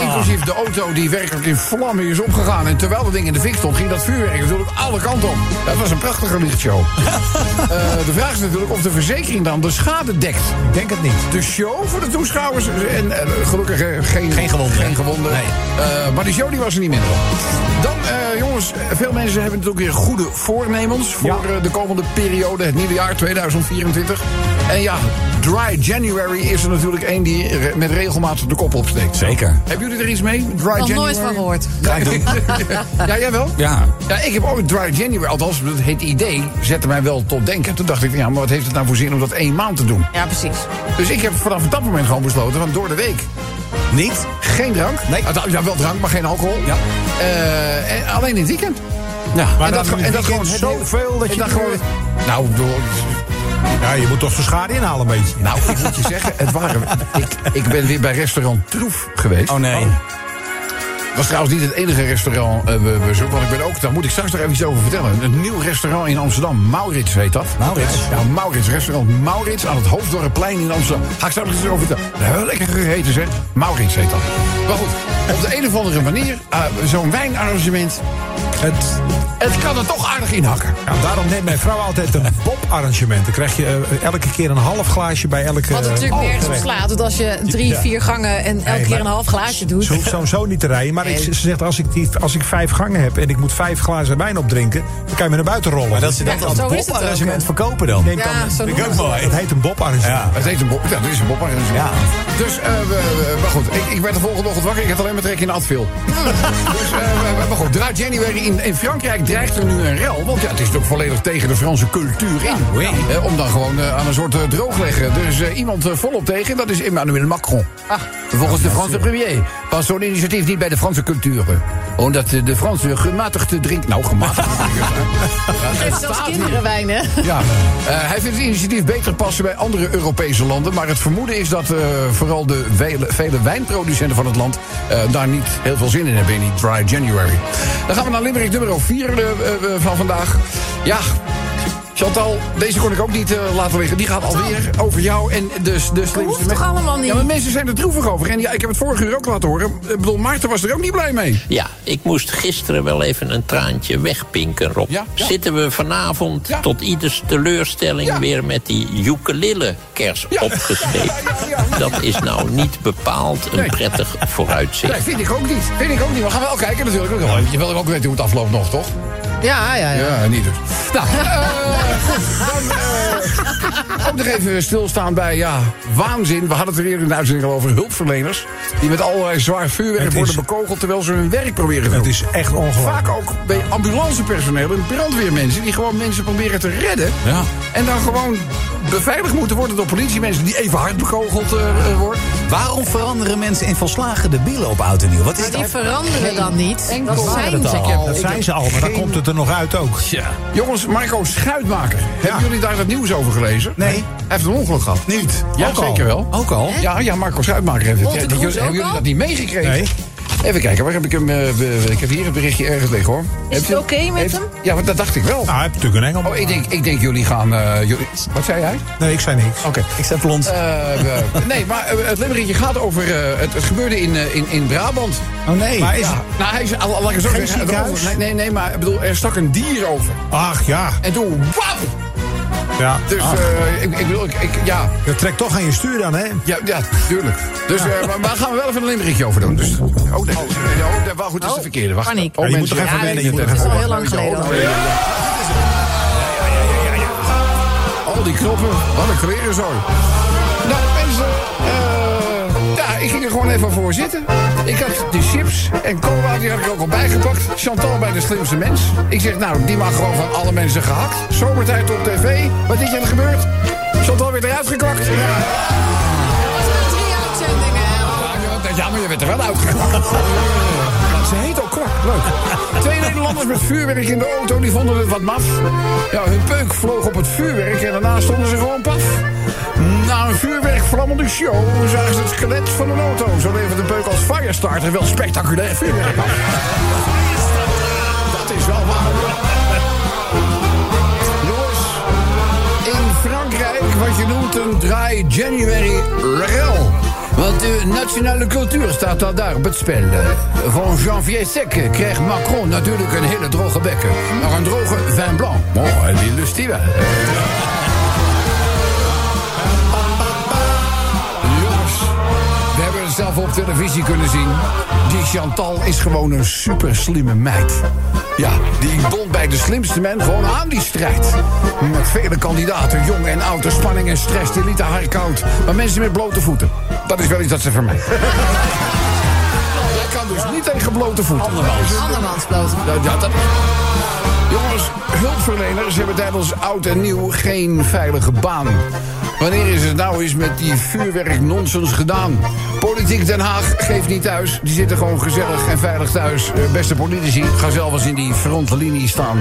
[SPEAKER 4] Inclusief de auto die werkelijk in vlammen is opgegaan. En terwijl dat ding in de fik stond, ging dat vuurwerk natuurlijk alle kanten op. Dat was een prachtige lichtshow. Eh, de vraag is natuurlijk of de verzekering dan de schade dekt.
[SPEAKER 3] Ik denk het niet.
[SPEAKER 4] De show voor de toeschouwers. En eh, gelukkig eh, geen,
[SPEAKER 5] Geen gewonden.
[SPEAKER 4] Geen gewonden. Eh, maar die show die was er niet minder om. Dan, eh, jongens, veel mensen hebben natuurlijk weer goede voornemens... voor eh, de komende periode, het nieuwe jaar 2024. En ja, Dry January is er natuurlijk één die re- met regelmaat de kop opsteekt.
[SPEAKER 5] Zeker.
[SPEAKER 4] Hebben jullie er iets mee? Dry
[SPEAKER 2] Nog
[SPEAKER 4] January?
[SPEAKER 2] nooit van gehoord.
[SPEAKER 4] Ga ik doen. ja, jij wel?
[SPEAKER 5] Ja.
[SPEAKER 4] Ja, ik heb ooit Dry January, althans het idee zette mij wel tot denken. Toen dacht ik, ja, maar wat heeft het nou voor zin om dat één maand te doen?
[SPEAKER 2] Ja, precies.
[SPEAKER 4] Dus ik heb vanaf dat moment gewoon besloten, want door de week
[SPEAKER 5] Niet?
[SPEAKER 4] geen drank.
[SPEAKER 5] Nee.
[SPEAKER 4] Ah, Ja, wel drank, maar geen alcohol.
[SPEAKER 5] Ja.
[SPEAKER 4] Eh, en alleen in het weekend.
[SPEAKER 5] Ja.
[SPEAKER 4] en dat,
[SPEAKER 3] dan
[SPEAKER 4] ge- en dat
[SPEAKER 3] in het
[SPEAKER 4] gewoon
[SPEAKER 3] weekend zoveel dat
[SPEAKER 4] en
[SPEAKER 3] je
[SPEAKER 4] dat
[SPEAKER 3] niet
[SPEAKER 4] gewoon. Nou, door,
[SPEAKER 3] Ja, je moet toch zijn schade inhalen een beetje.
[SPEAKER 4] nou, ik moet je zeggen, het waren. Ik, ik ben weer bij restaurant Troef geweest.
[SPEAKER 5] Oh nee.
[SPEAKER 4] was trouwens niet het enige restaurant eh, we bezoek. Want ik ben ook, daar moet ik straks nog even iets over vertellen. Een nieuw restaurant in Amsterdam. Maurits heet dat.
[SPEAKER 5] Maurits?
[SPEAKER 4] Ja, Maurits. Restaurant Maurits aan het Hoofddorpplein in Amsterdam. Ga ik straks nog iets over vertellen. Nou, Heel lekker gegeten zeg. Maurits heet dat. Maar goed, op de een of andere manier, eh, zo'n wijnarrangement.
[SPEAKER 3] Het,
[SPEAKER 4] Het kan er toch aardig in hakken.
[SPEAKER 3] ja, daarom neemt mijn vrouw altijd een bobarrangement. Dan krijg je eh, elke keer een half glaasje bij elke...
[SPEAKER 2] Wat natuurlijk
[SPEAKER 3] eh,
[SPEAKER 2] nergens op
[SPEAKER 3] alcohol.
[SPEAKER 2] slaat. Want als je drie,
[SPEAKER 3] Ja.
[SPEAKER 2] vier gangen en elke
[SPEAKER 3] Nee,
[SPEAKER 2] keer
[SPEAKER 3] maar
[SPEAKER 2] een half glaasje doet.
[SPEAKER 3] Ze hoeft sowieso niet te rijden. Maar ik,
[SPEAKER 2] Nee.
[SPEAKER 3] ze zegt, als ik, die, als ik vijf gangen heb en ik moet vijf glazen wijn opdrinken... dan kan je me naar buiten rollen.
[SPEAKER 5] Maar dat ze dat
[SPEAKER 2] Ja,
[SPEAKER 5] als
[SPEAKER 2] zo is het ook,
[SPEAKER 5] bobarrangement
[SPEAKER 2] hè.
[SPEAKER 5] verkopen dan.
[SPEAKER 3] Neemt
[SPEAKER 2] Ja,
[SPEAKER 3] dan-
[SPEAKER 2] zo noemen ze
[SPEAKER 5] mooi.
[SPEAKER 3] Het heet een bobarrangement.
[SPEAKER 5] Ja.
[SPEAKER 4] Het heet een bob. Ja, dit is een bobarrangement.
[SPEAKER 5] Ja.
[SPEAKER 4] Dus, eh, we- we- maar goed, ik, ik werd de volgende ochtend wakker. Ik had alleen maar trek in Advil. dus, eh, we- maar goed, draait January in, in Frankrijk dreigt er nu een rel. Want ja, het is natuurlijk volledig tegen de Franse cultuur in.
[SPEAKER 5] oui.
[SPEAKER 4] Eh, om dan gewoon eh, aan een soort eh, droog leggen. Er is eh, iemand eh, volop tegen. Dat is Emmanuel Macron.
[SPEAKER 5] Ah.
[SPEAKER 4] Volgens de Franse premier past zo'n initiatief niet bij de Franse cultuur. Omdat eh, de Fransen gematigd drinken... Nou, gematigd
[SPEAKER 2] Je geeft zelfs
[SPEAKER 4] staat
[SPEAKER 2] kinderen
[SPEAKER 4] hier.
[SPEAKER 2] wijn, hè?
[SPEAKER 4] ja, eh, hij vindt het initiatief beter passen bij andere Europese landen. Maar het vermoeden is dat eh, vooral de vele, vele wijnproducenten van het land eh, daar niet heel veel zin in hebben in die Dry January. Dan gaan we naar Limerick nummer 4 eh, eh, van vandaag. Ja. Chantal, deze kon ik ook niet eh, laten liggen. Die gaat alweer over jou en de, de slimste.
[SPEAKER 2] hoeft
[SPEAKER 4] men-
[SPEAKER 2] toch allemaal niet?
[SPEAKER 4] Ja, maar mensen zijn er droevig over. En ja, ik heb het vorige uur ook laten horen. Ik bedoel, Maarten was er ook niet blij mee.
[SPEAKER 9] Ja, ik moest gisteren wel even een traantje wegpinken, Rob.
[SPEAKER 4] Ja, ja.
[SPEAKER 9] Zitten we vanavond
[SPEAKER 4] Ja.
[SPEAKER 9] tot ieders teleurstelling
[SPEAKER 4] Ja.
[SPEAKER 9] weer met die ukulele-kers opgeschreven? Dat is nou niet bepaald een
[SPEAKER 4] Nee.
[SPEAKER 9] prettig vooruitzicht.
[SPEAKER 4] Nee, vind ik ook niet. Vind ik ook niet. We gaan wel kijken natuurlijk. Je wil ook weten hoe het afloopt nog, toch?
[SPEAKER 2] Ja, ja, ja.
[SPEAKER 4] Ja, niet dus. Nou, eh, goed, dan eh, ook nog even stilstaan bij, ja, waanzin. We hadden het er eerder in de uitzending al over hulpverleners... die met allerlei zwaar vuurwerk
[SPEAKER 3] Het is-
[SPEAKER 4] worden bekogeld... terwijl ze hun werk proberen te
[SPEAKER 3] Het
[SPEAKER 4] doen.
[SPEAKER 3] is echt ongelooflijk.
[SPEAKER 4] Vaak ook bij ambulancepersoneel en brandweermensen... die gewoon mensen proberen te redden...
[SPEAKER 5] Ja.
[SPEAKER 4] en dan gewoon beveiligd moeten worden door politiemensen... die even hard bekogeld eh, eh, worden.
[SPEAKER 5] Waarom veranderen mensen in volslagen de bielen op oud en nieuw? Wat is
[SPEAKER 2] Maar Nou, die
[SPEAKER 5] dat?
[SPEAKER 2] veranderen dan niet. Dat zijn
[SPEAKER 5] al.
[SPEAKER 2] ze.
[SPEAKER 3] Dat zijn ze al, maar dan komt het er nog uit ook.
[SPEAKER 4] Jongens, Marco Schuitmaker. Hebben jullie daar het nieuws over gelezen?
[SPEAKER 5] Nee.
[SPEAKER 4] Hij heeft een ongeluk gehad.
[SPEAKER 5] Niet.
[SPEAKER 4] Ja,
[SPEAKER 5] Ook al.
[SPEAKER 4] zeker wel.
[SPEAKER 5] Ook al?
[SPEAKER 4] Ja, ja, Marco Schuitmaker heeft het.
[SPEAKER 2] Monte
[SPEAKER 4] Ja,
[SPEAKER 2] Kroes
[SPEAKER 4] jullie-
[SPEAKER 2] ook
[SPEAKER 4] hebben jullie
[SPEAKER 2] al?
[SPEAKER 4] dat niet meegekregen?
[SPEAKER 3] Nee.
[SPEAKER 4] Even kijken, waar heb ik hem? eh, be- ik heb hier het berichtje ergens liggen hoor. Heb
[SPEAKER 2] het
[SPEAKER 4] je-
[SPEAKER 2] oké met
[SPEAKER 4] heeft-
[SPEAKER 2] hem?
[SPEAKER 4] Ja, want dat dacht ik wel.
[SPEAKER 3] Nou, hij heeft natuurlijk een engel.
[SPEAKER 4] Oh, ik denk, ik denk jullie gaan. eh, jullie, wat zei jij?
[SPEAKER 3] Nee, ik zei niks.
[SPEAKER 4] Oké.
[SPEAKER 5] Ik zet blond.
[SPEAKER 4] Eh, eh, nee, maar eh, het limmerietje gaat over. eh, het, het gebeurde in, eh, in, in Brabant.
[SPEAKER 5] oh nee.
[SPEAKER 3] Maar is
[SPEAKER 4] Ja, nou, hij is. al- Laat ik het zo
[SPEAKER 3] Geen
[SPEAKER 4] zeggen.
[SPEAKER 3] ziekenhuis?
[SPEAKER 4] erover- Nee, nee, nee, maar ik bedoel, er stak een dier over.
[SPEAKER 3] Ach ja.
[SPEAKER 4] En toen. Wap!
[SPEAKER 3] ja. Ah.
[SPEAKER 4] Dus eh, ik, ik bedoel, ik, ik- ja,
[SPEAKER 3] Dat trekt toch aan je stuur dan, hè?
[SPEAKER 4] ja, ja, tuurlijk. Dus eh, maar, maar gaan we wel even een limmerietje over doen. Dus, oh, nee, oh, nee, oh, wacht, goed, dat is de verkeerde. Wacht.
[SPEAKER 2] paniek.
[SPEAKER 4] Oh,
[SPEAKER 3] Ja, je moet
[SPEAKER 4] mensen,
[SPEAKER 3] toch even
[SPEAKER 4] ja,
[SPEAKER 3] wennen,
[SPEAKER 4] je
[SPEAKER 3] je
[SPEAKER 4] moet
[SPEAKER 3] moet
[SPEAKER 4] even
[SPEAKER 2] Dat is al
[SPEAKER 4] wennen. Oh,
[SPEAKER 2] heel lang geleden. al.
[SPEAKER 4] Al die knoppen, wat een klerenzooi. Nou, mensen, eh, ja, ik ging er gewoon even voor zitten. Ik had die chips en cola, die had ik ook al bijgepakt. Chantal bij de slimste mens. Ik zeg, nou, die mag gewoon van alle mensen gehakt. Zomertijd op tv. Wat is er aan gebeurd? Chantal weer eruit gekwakt. Ja,
[SPEAKER 2] Dat zijn drie uitzendingen, hè?
[SPEAKER 4] ja maar je bent er wel uitgekwakt. Ze heet ook kwak, leuk. Twee Nederlanders met vuurwerk in de auto, die vonden het wat maf. Ja, hun peuk vloog op het vuurwerk en daarna stonden ze gewoon paf. Na een vuurwerkvlammende show zagen ze het skelet van een auto. Zo levert de peuk als firestarter wel spectaculair vuurwerk af. Dat is wel waar. Jongens, Hilversum draai January Rel. Want de nationale cultuur staat al daar op het spel. Van janvier sec kreeg Macron natuurlijk een hele droge bekken. Maar een droge vin blanc. Oh, die lust die wel. Jongens, we hebben het zelf op televisie kunnen zien. Die Chantal is gewoon een super slimme meid. Ja, die bond bij de slimste men gewoon aan die strijd. Met vele kandidaten, jong en oud, de spanning en stress, die lieten haar koud. Maar mensen met blote voeten, dat is wel iets dat ze vermijden. Jij kan dus niet tegen blote voeten.
[SPEAKER 2] Andermans bloot.
[SPEAKER 4] Ja, ja, dat... Jongens, hulpverleners hebben tijdens oud en nieuw geen veilige baan. Wanneer is het nou eens met die vuurwerknonsens gedaan? Politiek Den Haag geeft niet thuis. Die zitten gewoon gezellig en veilig thuis. Eh, beste politici, ga zelf eens in die frontlinie staan.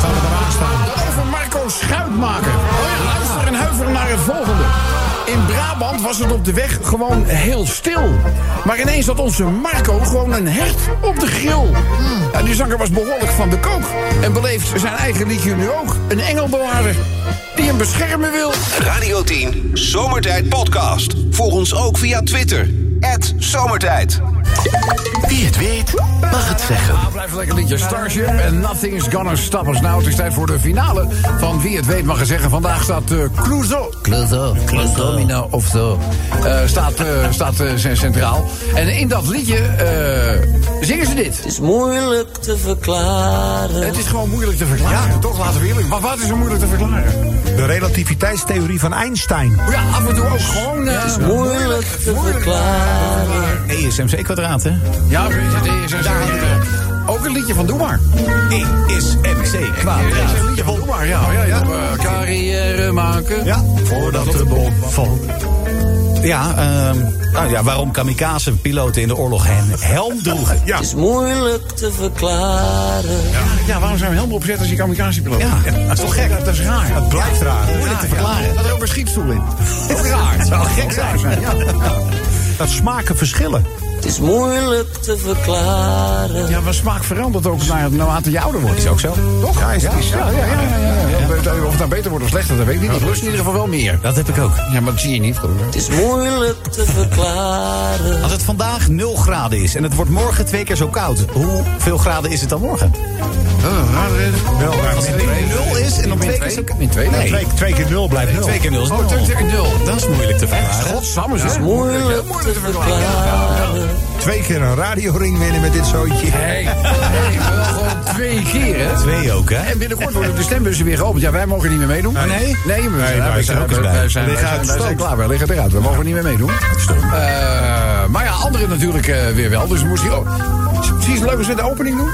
[SPEAKER 4] Dan Over Marco Schuitmaker. Oh ja, luister en huiver naar het volgende. In Brabant was het op de weg gewoon heel stil. Maar ineens had onze Marco gewoon een hert op de grill. En die zanger was behoorlijk van de kook. En beleeft zijn eigen liedje nu ook. Een engelbewaarder die hem beschermen wil.
[SPEAKER 1] Radio 10 Zomertijd Podcast. Volg ons ook via Twitter. Zomertijd.
[SPEAKER 7] Wie het weet, mag het zeggen.
[SPEAKER 4] Ah, blijf lekker liedje Starship en Nothing's Gonna Stop Us Now. Het is tijd voor de finale van Wie het weet mag het zeggen. Vandaag staat eh Clouseau. Clouseau. Domino of zo. Eh, staat eh, staat eh, zijn centraal. En in dat liedje eh, zingen ze dit.
[SPEAKER 6] Het is moeilijk te verklaren.
[SPEAKER 4] Het is gewoon moeilijk te verklaren. Ja, toch laten we eerlijk. Maar wat is er moeilijk te verklaren?
[SPEAKER 3] De relativiteitstheorie van Einstein.
[SPEAKER 4] Ja, af en toe ook gewoon... het is
[SPEAKER 6] Moeilijk te verklaren.
[SPEAKER 5] ESMC kwadraat, hè?
[SPEAKER 4] Ja, het is ook een liedje van Doe maar.
[SPEAKER 5] E ESMC
[SPEAKER 4] Ja,
[SPEAKER 5] kwadraat.
[SPEAKER 4] een liedje van Doe maar, ja. ja, ja. Eh, carrière maken.
[SPEAKER 3] Ja,
[SPEAKER 5] Voordat de bom valt. Ja, ehm, nou ja, waarom kamikaze-piloten in de oorlog hen helm droegen.
[SPEAKER 6] Het is moeilijk te verklaren.
[SPEAKER 4] Ja, waarom zijn we helemaal opzet als je kamikazepiloot
[SPEAKER 5] Ja,
[SPEAKER 4] bent?
[SPEAKER 5] dat is toch gek?
[SPEAKER 4] Dat, dat is raar.
[SPEAKER 3] het blijft raar.
[SPEAKER 4] moeilijk te
[SPEAKER 5] verklaren.
[SPEAKER 4] Dat er ook een schietstoel in. Dat is raar. Dat zou gek zijn. Ja.
[SPEAKER 3] Dat smaken verschillen.
[SPEAKER 6] Het is moeilijk te verklaren.
[SPEAKER 4] ja, maar smaak verandert ook naar- naarmate je ouder wordt. Is ook zo. Toch? Ja, is het is- ja, ja, ja, ja, ja, ja. Of het nou beter wordt of slechter, dat weet ik niet. Ik lust in ieder geval wel meer.
[SPEAKER 5] Dat heb ik ook.
[SPEAKER 4] Ja, maar dat zie je niet.
[SPEAKER 6] Het is moeilijk te verklaren.
[SPEAKER 5] Als het vandaag 0 graden is en het wordt morgen twee keer zo koud, hoeveel graden is het dan morgen?
[SPEAKER 4] Wel,
[SPEAKER 5] Als het nu 0 is en dan twee keer zo koud.
[SPEAKER 4] Min twee.
[SPEAKER 5] Nee,
[SPEAKER 3] Twee, twee keer nul blijft nul.
[SPEAKER 5] twee keer 0 is
[SPEAKER 4] Oh, twee
[SPEAKER 5] 0.
[SPEAKER 4] keer nul.
[SPEAKER 5] Dat is moeilijk te verklaren.
[SPEAKER 4] Godsamme, zeg.
[SPEAKER 6] Moeilijk te verklaren.
[SPEAKER 3] Twee keer een radioring winnen met dit zootje.
[SPEAKER 4] Hey, hey, wel gewoon twee keer, hè?
[SPEAKER 5] Twee ook, hè?
[SPEAKER 4] En binnenkort worden de stembussen weer geopend. Ja, wij mogen niet meer meedoen.
[SPEAKER 5] Ah, nee?
[SPEAKER 4] Nee, maar wij,
[SPEAKER 5] wij
[SPEAKER 4] wij
[SPEAKER 5] zijn
[SPEAKER 4] zijn,
[SPEAKER 5] er ook eens
[SPEAKER 4] wij,
[SPEAKER 5] bij.
[SPEAKER 4] wij zijn,
[SPEAKER 5] We
[SPEAKER 4] wij
[SPEAKER 5] liggen
[SPEAKER 4] zijn,
[SPEAKER 5] uit
[SPEAKER 4] wij
[SPEAKER 5] stoom.
[SPEAKER 4] zijn klaar. Wij liggen eruit. We mogen niet meer meedoen. Eh, maar ja, anderen natuurlijk eh, weer wel. Dus moest hij ook... Zie je het leuk als we de opening doen?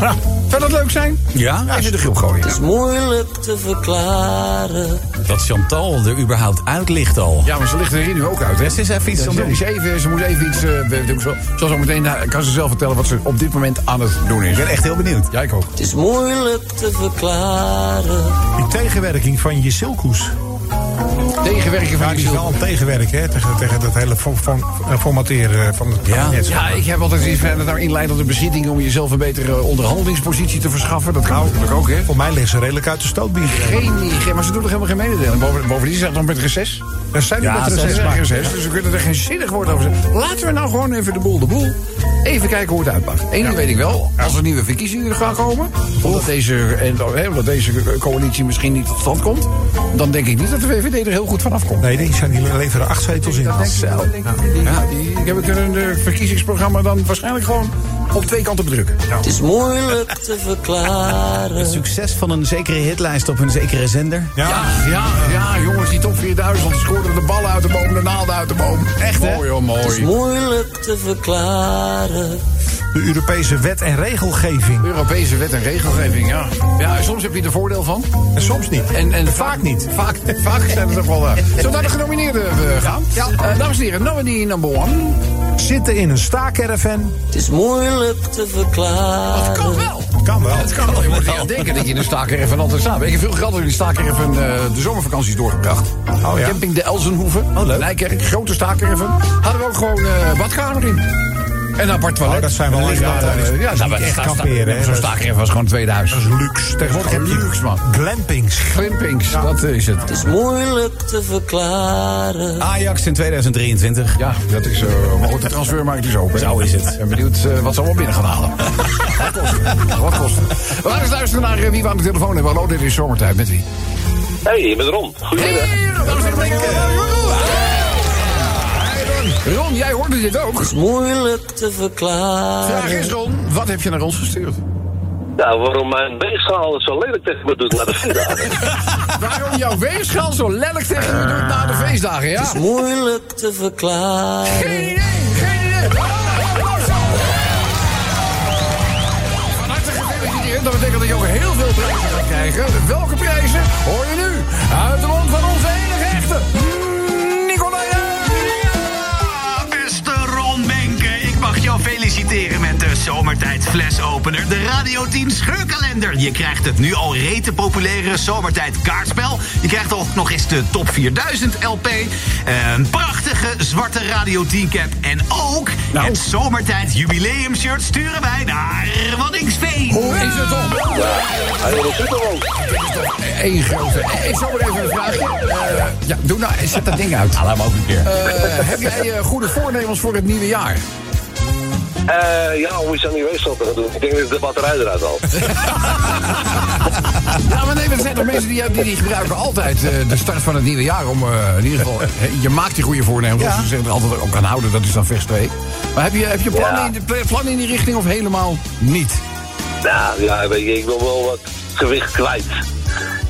[SPEAKER 4] Nou, zou dat leuk zijn?
[SPEAKER 5] Ja?
[SPEAKER 4] Even de groep gooien.
[SPEAKER 6] Het is moeilijk te verklaren.
[SPEAKER 5] Dat Chantal er überhaupt uit ligt al.
[SPEAKER 4] Ja, maar ze ligt er hier nu ook uit, hè?
[SPEAKER 5] Dus is even iets aan
[SPEAKER 4] Ze,
[SPEAKER 5] doen.
[SPEAKER 4] is even, ze moet even iets... eh, we- doen. Zo- Zoals zo meteen nou, kan ze zelf vertellen wat ze op dit moment aan het doen is.
[SPEAKER 5] Ik ben echt heel benieuwd.
[SPEAKER 4] Ja, ik ook.
[SPEAKER 6] Het is moeilijk te verklaren.
[SPEAKER 3] Die tegenwerking van je silkoes.
[SPEAKER 4] Tegenwerken van
[SPEAKER 3] Ja, die is
[SPEAKER 4] jezelf.
[SPEAKER 3] wel een tegenwerk, hè? Tegen, tegen dat hele fo- fo- eh, formateren van het
[SPEAKER 5] Ja.
[SPEAKER 3] kabinet.
[SPEAKER 4] Ja, ik heb altijd iets van dat nou inleidt tot een bezitting om jezelf een betere eh, onderhandelingspositie te verschaffen. Nou, Dat kan natuurlijk ook, hè?
[SPEAKER 3] Voor mij liggen ze redelijk uit de stootbier.
[SPEAKER 4] Geen, geen, maar ze doen er helemaal geen mededeling. Boven, bovendien zijn het nog met reces.
[SPEAKER 3] Er zijn nu
[SPEAKER 5] Ja,
[SPEAKER 3] met
[SPEAKER 5] ze
[SPEAKER 3] reces,
[SPEAKER 4] Ze
[SPEAKER 5] zijn
[SPEAKER 3] maar-
[SPEAKER 4] zijn reces, dus we kunnen er geen zinnig woord over zeggen. Laten we nou gewoon even de boel de boel. Even kijken hoe het uitpakt. Eén ding weet ik wel, als er nieuwe verkiezingen gaan komen... omdat deze, en, eh, omdat deze coalitie misschien niet tot stand komt... dan denk ik niet dat de VVD er heel goed vanaf komt.
[SPEAKER 3] Nee, die, zijn, die leveren acht zetels in.
[SPEAKER 4] Dat denk ik, dat denk ik. Die- die- die hebben hun eh, verkiezingsprogramma dan waarschijnlijk gewoon op twee kanten bedrukken.
[SPEAKER 6] Het is moeilijk te verklaren.
[SPEAKER 5] Het succes van een zekere hitlijst op een zekere zender.
[SPEAKER 4] Ja, ja, ja, jongens, die top 4000 scoorden de ballen uit de boom, de naalden uit de boom. Echt, hè? Mooi, hoor,
[SPEAKER 6] Het is
[SPEAKER 4] mooi.
[SPEAKER 6] moeilijk te verklaren.
[SPEAKER 3] De Europese wet en regelgeving.
[SPEAKER 4] Europese wet en regelgeving, ja. Ja, en soms heb je er voordeel van.
[SPEAKER 3] En soms niet.
[SPEAKER 4] En, en vaak niet. Vaak, vaak zijn het toch wel... eh, Zullen we naar de genomineerden eh, gaan? Ja. dames en heren, nominee number one.
[SPEAKER 3] Zitten in een staakerven.
[SPEAKER 6] Het is moeilijk te verklaren.
[SPEAKER 4] wel.
[SPEAKER 3] Kan wel.
[SPEAKER 4] Het kan wel. Je moet echt Eh, denken dat je in een staakerven altijd staat. Ik heb veel geld in de staakerven eh, de zomervakanties doorgebracht.
[SPEAKER 3] Oh, ja.
[SPEAKER 4] Camping de Elzenhoeven.
[SPEAKER 5] leuk.
[SPEAKER 4] Nijkerk, grote staakerven. Hadden we ook gewoon eh badkamer in. En apart toilet.
[SPEAKER 3] Oh, dat zijn wel
[SPEAKER 4] En een
[SPEAKER 3] echt
[SPEAKER 4] liggende-
[SPEAKER 3] altijd-
[SPEAKER 4] Ja, dat
[SPEAKER 3] dat
[SPEAKER 4] was
[SPEAKER 3] is
[SPEAKER 4] echt
[SPEAKER 3] echt kamperen,
[SPEAKER 4] kamperen.
[SPEAKER 3] hè.
[SPEAKER 4] Zo'n staking was gewoon een tweede huis.
[SPEAKER 3] Dat is luxe. Tegenwoordig heb
[SPEAKER 4] Gewoon
[SPEAKER 3] je
[SPEAKER 4] luxe, man.
[SPEAKER 3] glampings.
[SPEAKER 4] Glimpings, dat is het.
[SPEAKER 6] is moeilijk te verklaren.
[SPEAKER 5] Ajax in 2023.
[SPEAKER 4] Ja, dat is zo. maar goed, de transfermarkt is open.
[SPEAKER 5] Zo is het.
[SPEAKER 4] Ik ben benieuwd eh, wat ze allemaal binnen gaan halen. Wat kost het? Wat kost het? We gaan eens luisteren naar eh, wie we aan de telefoon hebben. Hallo, dit is Zomertijd. Met wie?
[SPEAKER 10] Hey, je bent Ron. Goedemiddag.
[SPEAKER 4] Ron, jij hoorde dit ook.
[SPEAKER 6] is moeilijk te
[SPEAKER 4] Vraag
[SPEAKER 6] verklaren.
[SPEAKER 4] is Ron, wat heb je naar ons gestuurd?
[SPEAKER 10] Nou, waarom mijn weegschaal het zo lelijk tegen me doet na de feestdagen?
[SPEAKER 4] Waarom jouw weegschaal zo lelijk tegen je doet na de feestdagen, ja?
[SPEAKER 6] is moeilijk te verklaren.
[SPEAKER 4] Geen idee, geen idee. Van harte gefeliciteerd. Dat betekent dat je ook heel veel prijzen gaat krijgen. Welke prijzen hoor je nu? Uit de mond van onze enige echte Nicolai.
[SPEAKER 11] Beste Ron Menke, ik mag jou feliciteren met de Zomertijd Flesopener. De Radio 10 Scheurkalender. Je krijgt het nu al rete populaire Zomertijd kaartspel. Je krijgt ook nog eens de Top 4000 LP. eh, Een prachtige zwarte Radio 10 cap. En ook
[SPEAKER 5] Nou.
[SPEAKER 11] het Zomertijd Jubileum shirt sturen wij naar Waddingsveen.
[SPEAKER 4] Hoe is het om?
[SPEAKER 10] Hij wil een superwoon.
[SPEAKER 4] Eén grote. Eh, Ik zal maar even een vraagje. Eh, ja, doe nou, zet dat ding uit.
[SPEAKER 5] Laat hem ook een keer.
[SPEAKER 4] Eh, heb jij eh, goede voornemens voor het nieuwe jaar?
[SPEAKER 10] Eh, ja, hoe is aan die weegschaal te gaan doen? Ik denk dat de batterij eruit al.
[SPEAKER 4] Ja, maar nee, maar er zijn toch mensen die, die, die gebruiken altijd eh, de start van het nieuwe jaar om eh, in ieder geval... eh, Je maakt die goede voornemens,
[SPEAKER 5] Ja.
[SPEAKER 4] of ze zeggen er altijd op kan houden, dat is dan vers 2. Maar heb je, heb je plannen,
[SPEAKER 10] Ja.
[SPEAKER 4] in, de- pla- plannen in die richting of helemaal niet?
[SPEAKER 10] Nou, ja, weet je, ik wil wel wat gewicht kwijt.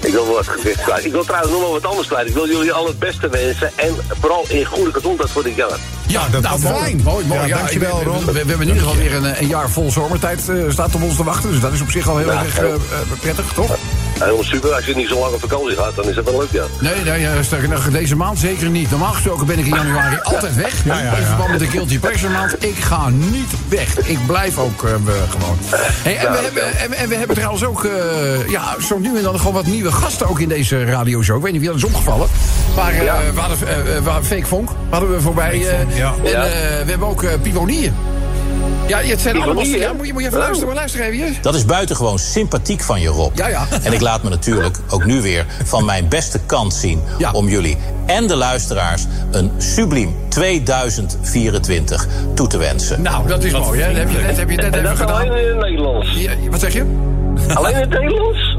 [SPEAKER 10] Ik wil wel wat gewicht kwijt. Ik wil trouwens nog wel wat anders kwijt. Ik wil jullie alle het beste wensen en vooral in goede gezondheid voor dit jaar.
[SPEAKER 4] Ja,
[SPEAKER 3] dat kan wel.
[SPEAKER 4] Nou, fijn. Mooi, mooi.
[SPEAKER 3] Ja, dankjewel,
[SPEAKER 4] ik-
[SPEAKER 3] Ron.
[SPEAKER 4] We, we- we hebben in ieder geval weer een, een jaar vol zomertijd eh, staat op ons te wachten. Dus dat is op zich al heel
[SPEAKER 10] Ja,
[SPEAKER 4] erg
[SPEAKER 10] heel-
[SPEAKER 4] eh, eh, prettig, toch?
[SPEAKER 10] Helemaal Nou, super. Als je niet zo lang op vakantie gaat, dan is dat wel leuk, ja.
[SPEAKER 4] Nee, nee, eh, sterker nog, deze maand zeker niet. Normaal gesproken ben ik in januari altijd weg.
[SPEAKER 3] Ja, ja, ja.
[SPEAKER 4] In verband met de Guilty Pleasure maand. Ik ga niet weg. Ik blijf ook eh, we- gewoon. Hey, en, we hebben, en, we- en we hebben trouwens ook eh, ja, zo nu en dan gewoon wat nieuwe gasten ook in deze radioshow. Ik weet niet wie dat is opgevallen. Maar eh,
[SPEAKER 10] Ja.
[SPEAKER 4] we hadden eh, eh, we hadden Fake Vonk hadden we voorbij. eh,
[SPEAKER 3] ja.
[SPEAKER 4] En
[SPEAKER 10] Ja.
[SPEAKER 4] eh, we hebben ook eh Pivonier. Ja, het zijn allemaal...
[SPEAKER 10] Pivonier,
[SPEAKER 4] Ja,
[SPEAKER 10] hè?
[SPEAKER 4] moet, je, moet je even
[SPEAKER 3] Oh.
[SPEAKER 4] luisteren, maar luister even. hier.
[SPEAKER 9] Dat is buitengewoon sympathiek van je, Rob.
[SPEAKER 4] Ja, ja.
[SPEAKER 9] En ik laat me natuurlijk ook nu weer van mijn beste kant zien...
[SPEAKER 4] Ja.
[SPEAKER 9] om jullie en de luisteraars een subliem 2024 toe te wensen.
[SPEAKER 4] Nou, dat is mooi, hè? Dat heb je net, heb je net
[SPEAKER 10] En
[SPEAKER 3] Nou,
[SPEAKER 4] even
[SPEAKER 10] dat alleen
[SPEAKER 4] gedaan.
[SPEAKER 10] in het Nederlands.
[SPEAKER 4] Ja, wat zeg je?
[SPEAKER 10] Alleen in het Nederlands?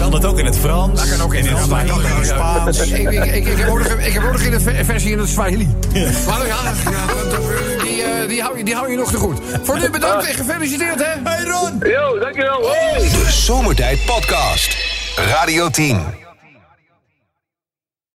[SPEAKER 5] Kan dat ook in het Frans? Dat kan ook in het Spaans.
[SPEAKER 4] Kan ook in het
[SPEAKER 5] Spaans.
[SPEAKER 4] Ik, ik, ik, ik, heb ook nog, ik heb ook nog in de ver- versie in het Swahili. Maar ja, ja, dat- die, eh, die, hou je, die hou je nog te goed. Voor nu bedankt en gefeliciteerd, hè?
[SPEAKER 10] Jo, dankjewel. Hoi.
[SPEAKER 1] De Zomertijd Podcast. Radio 10.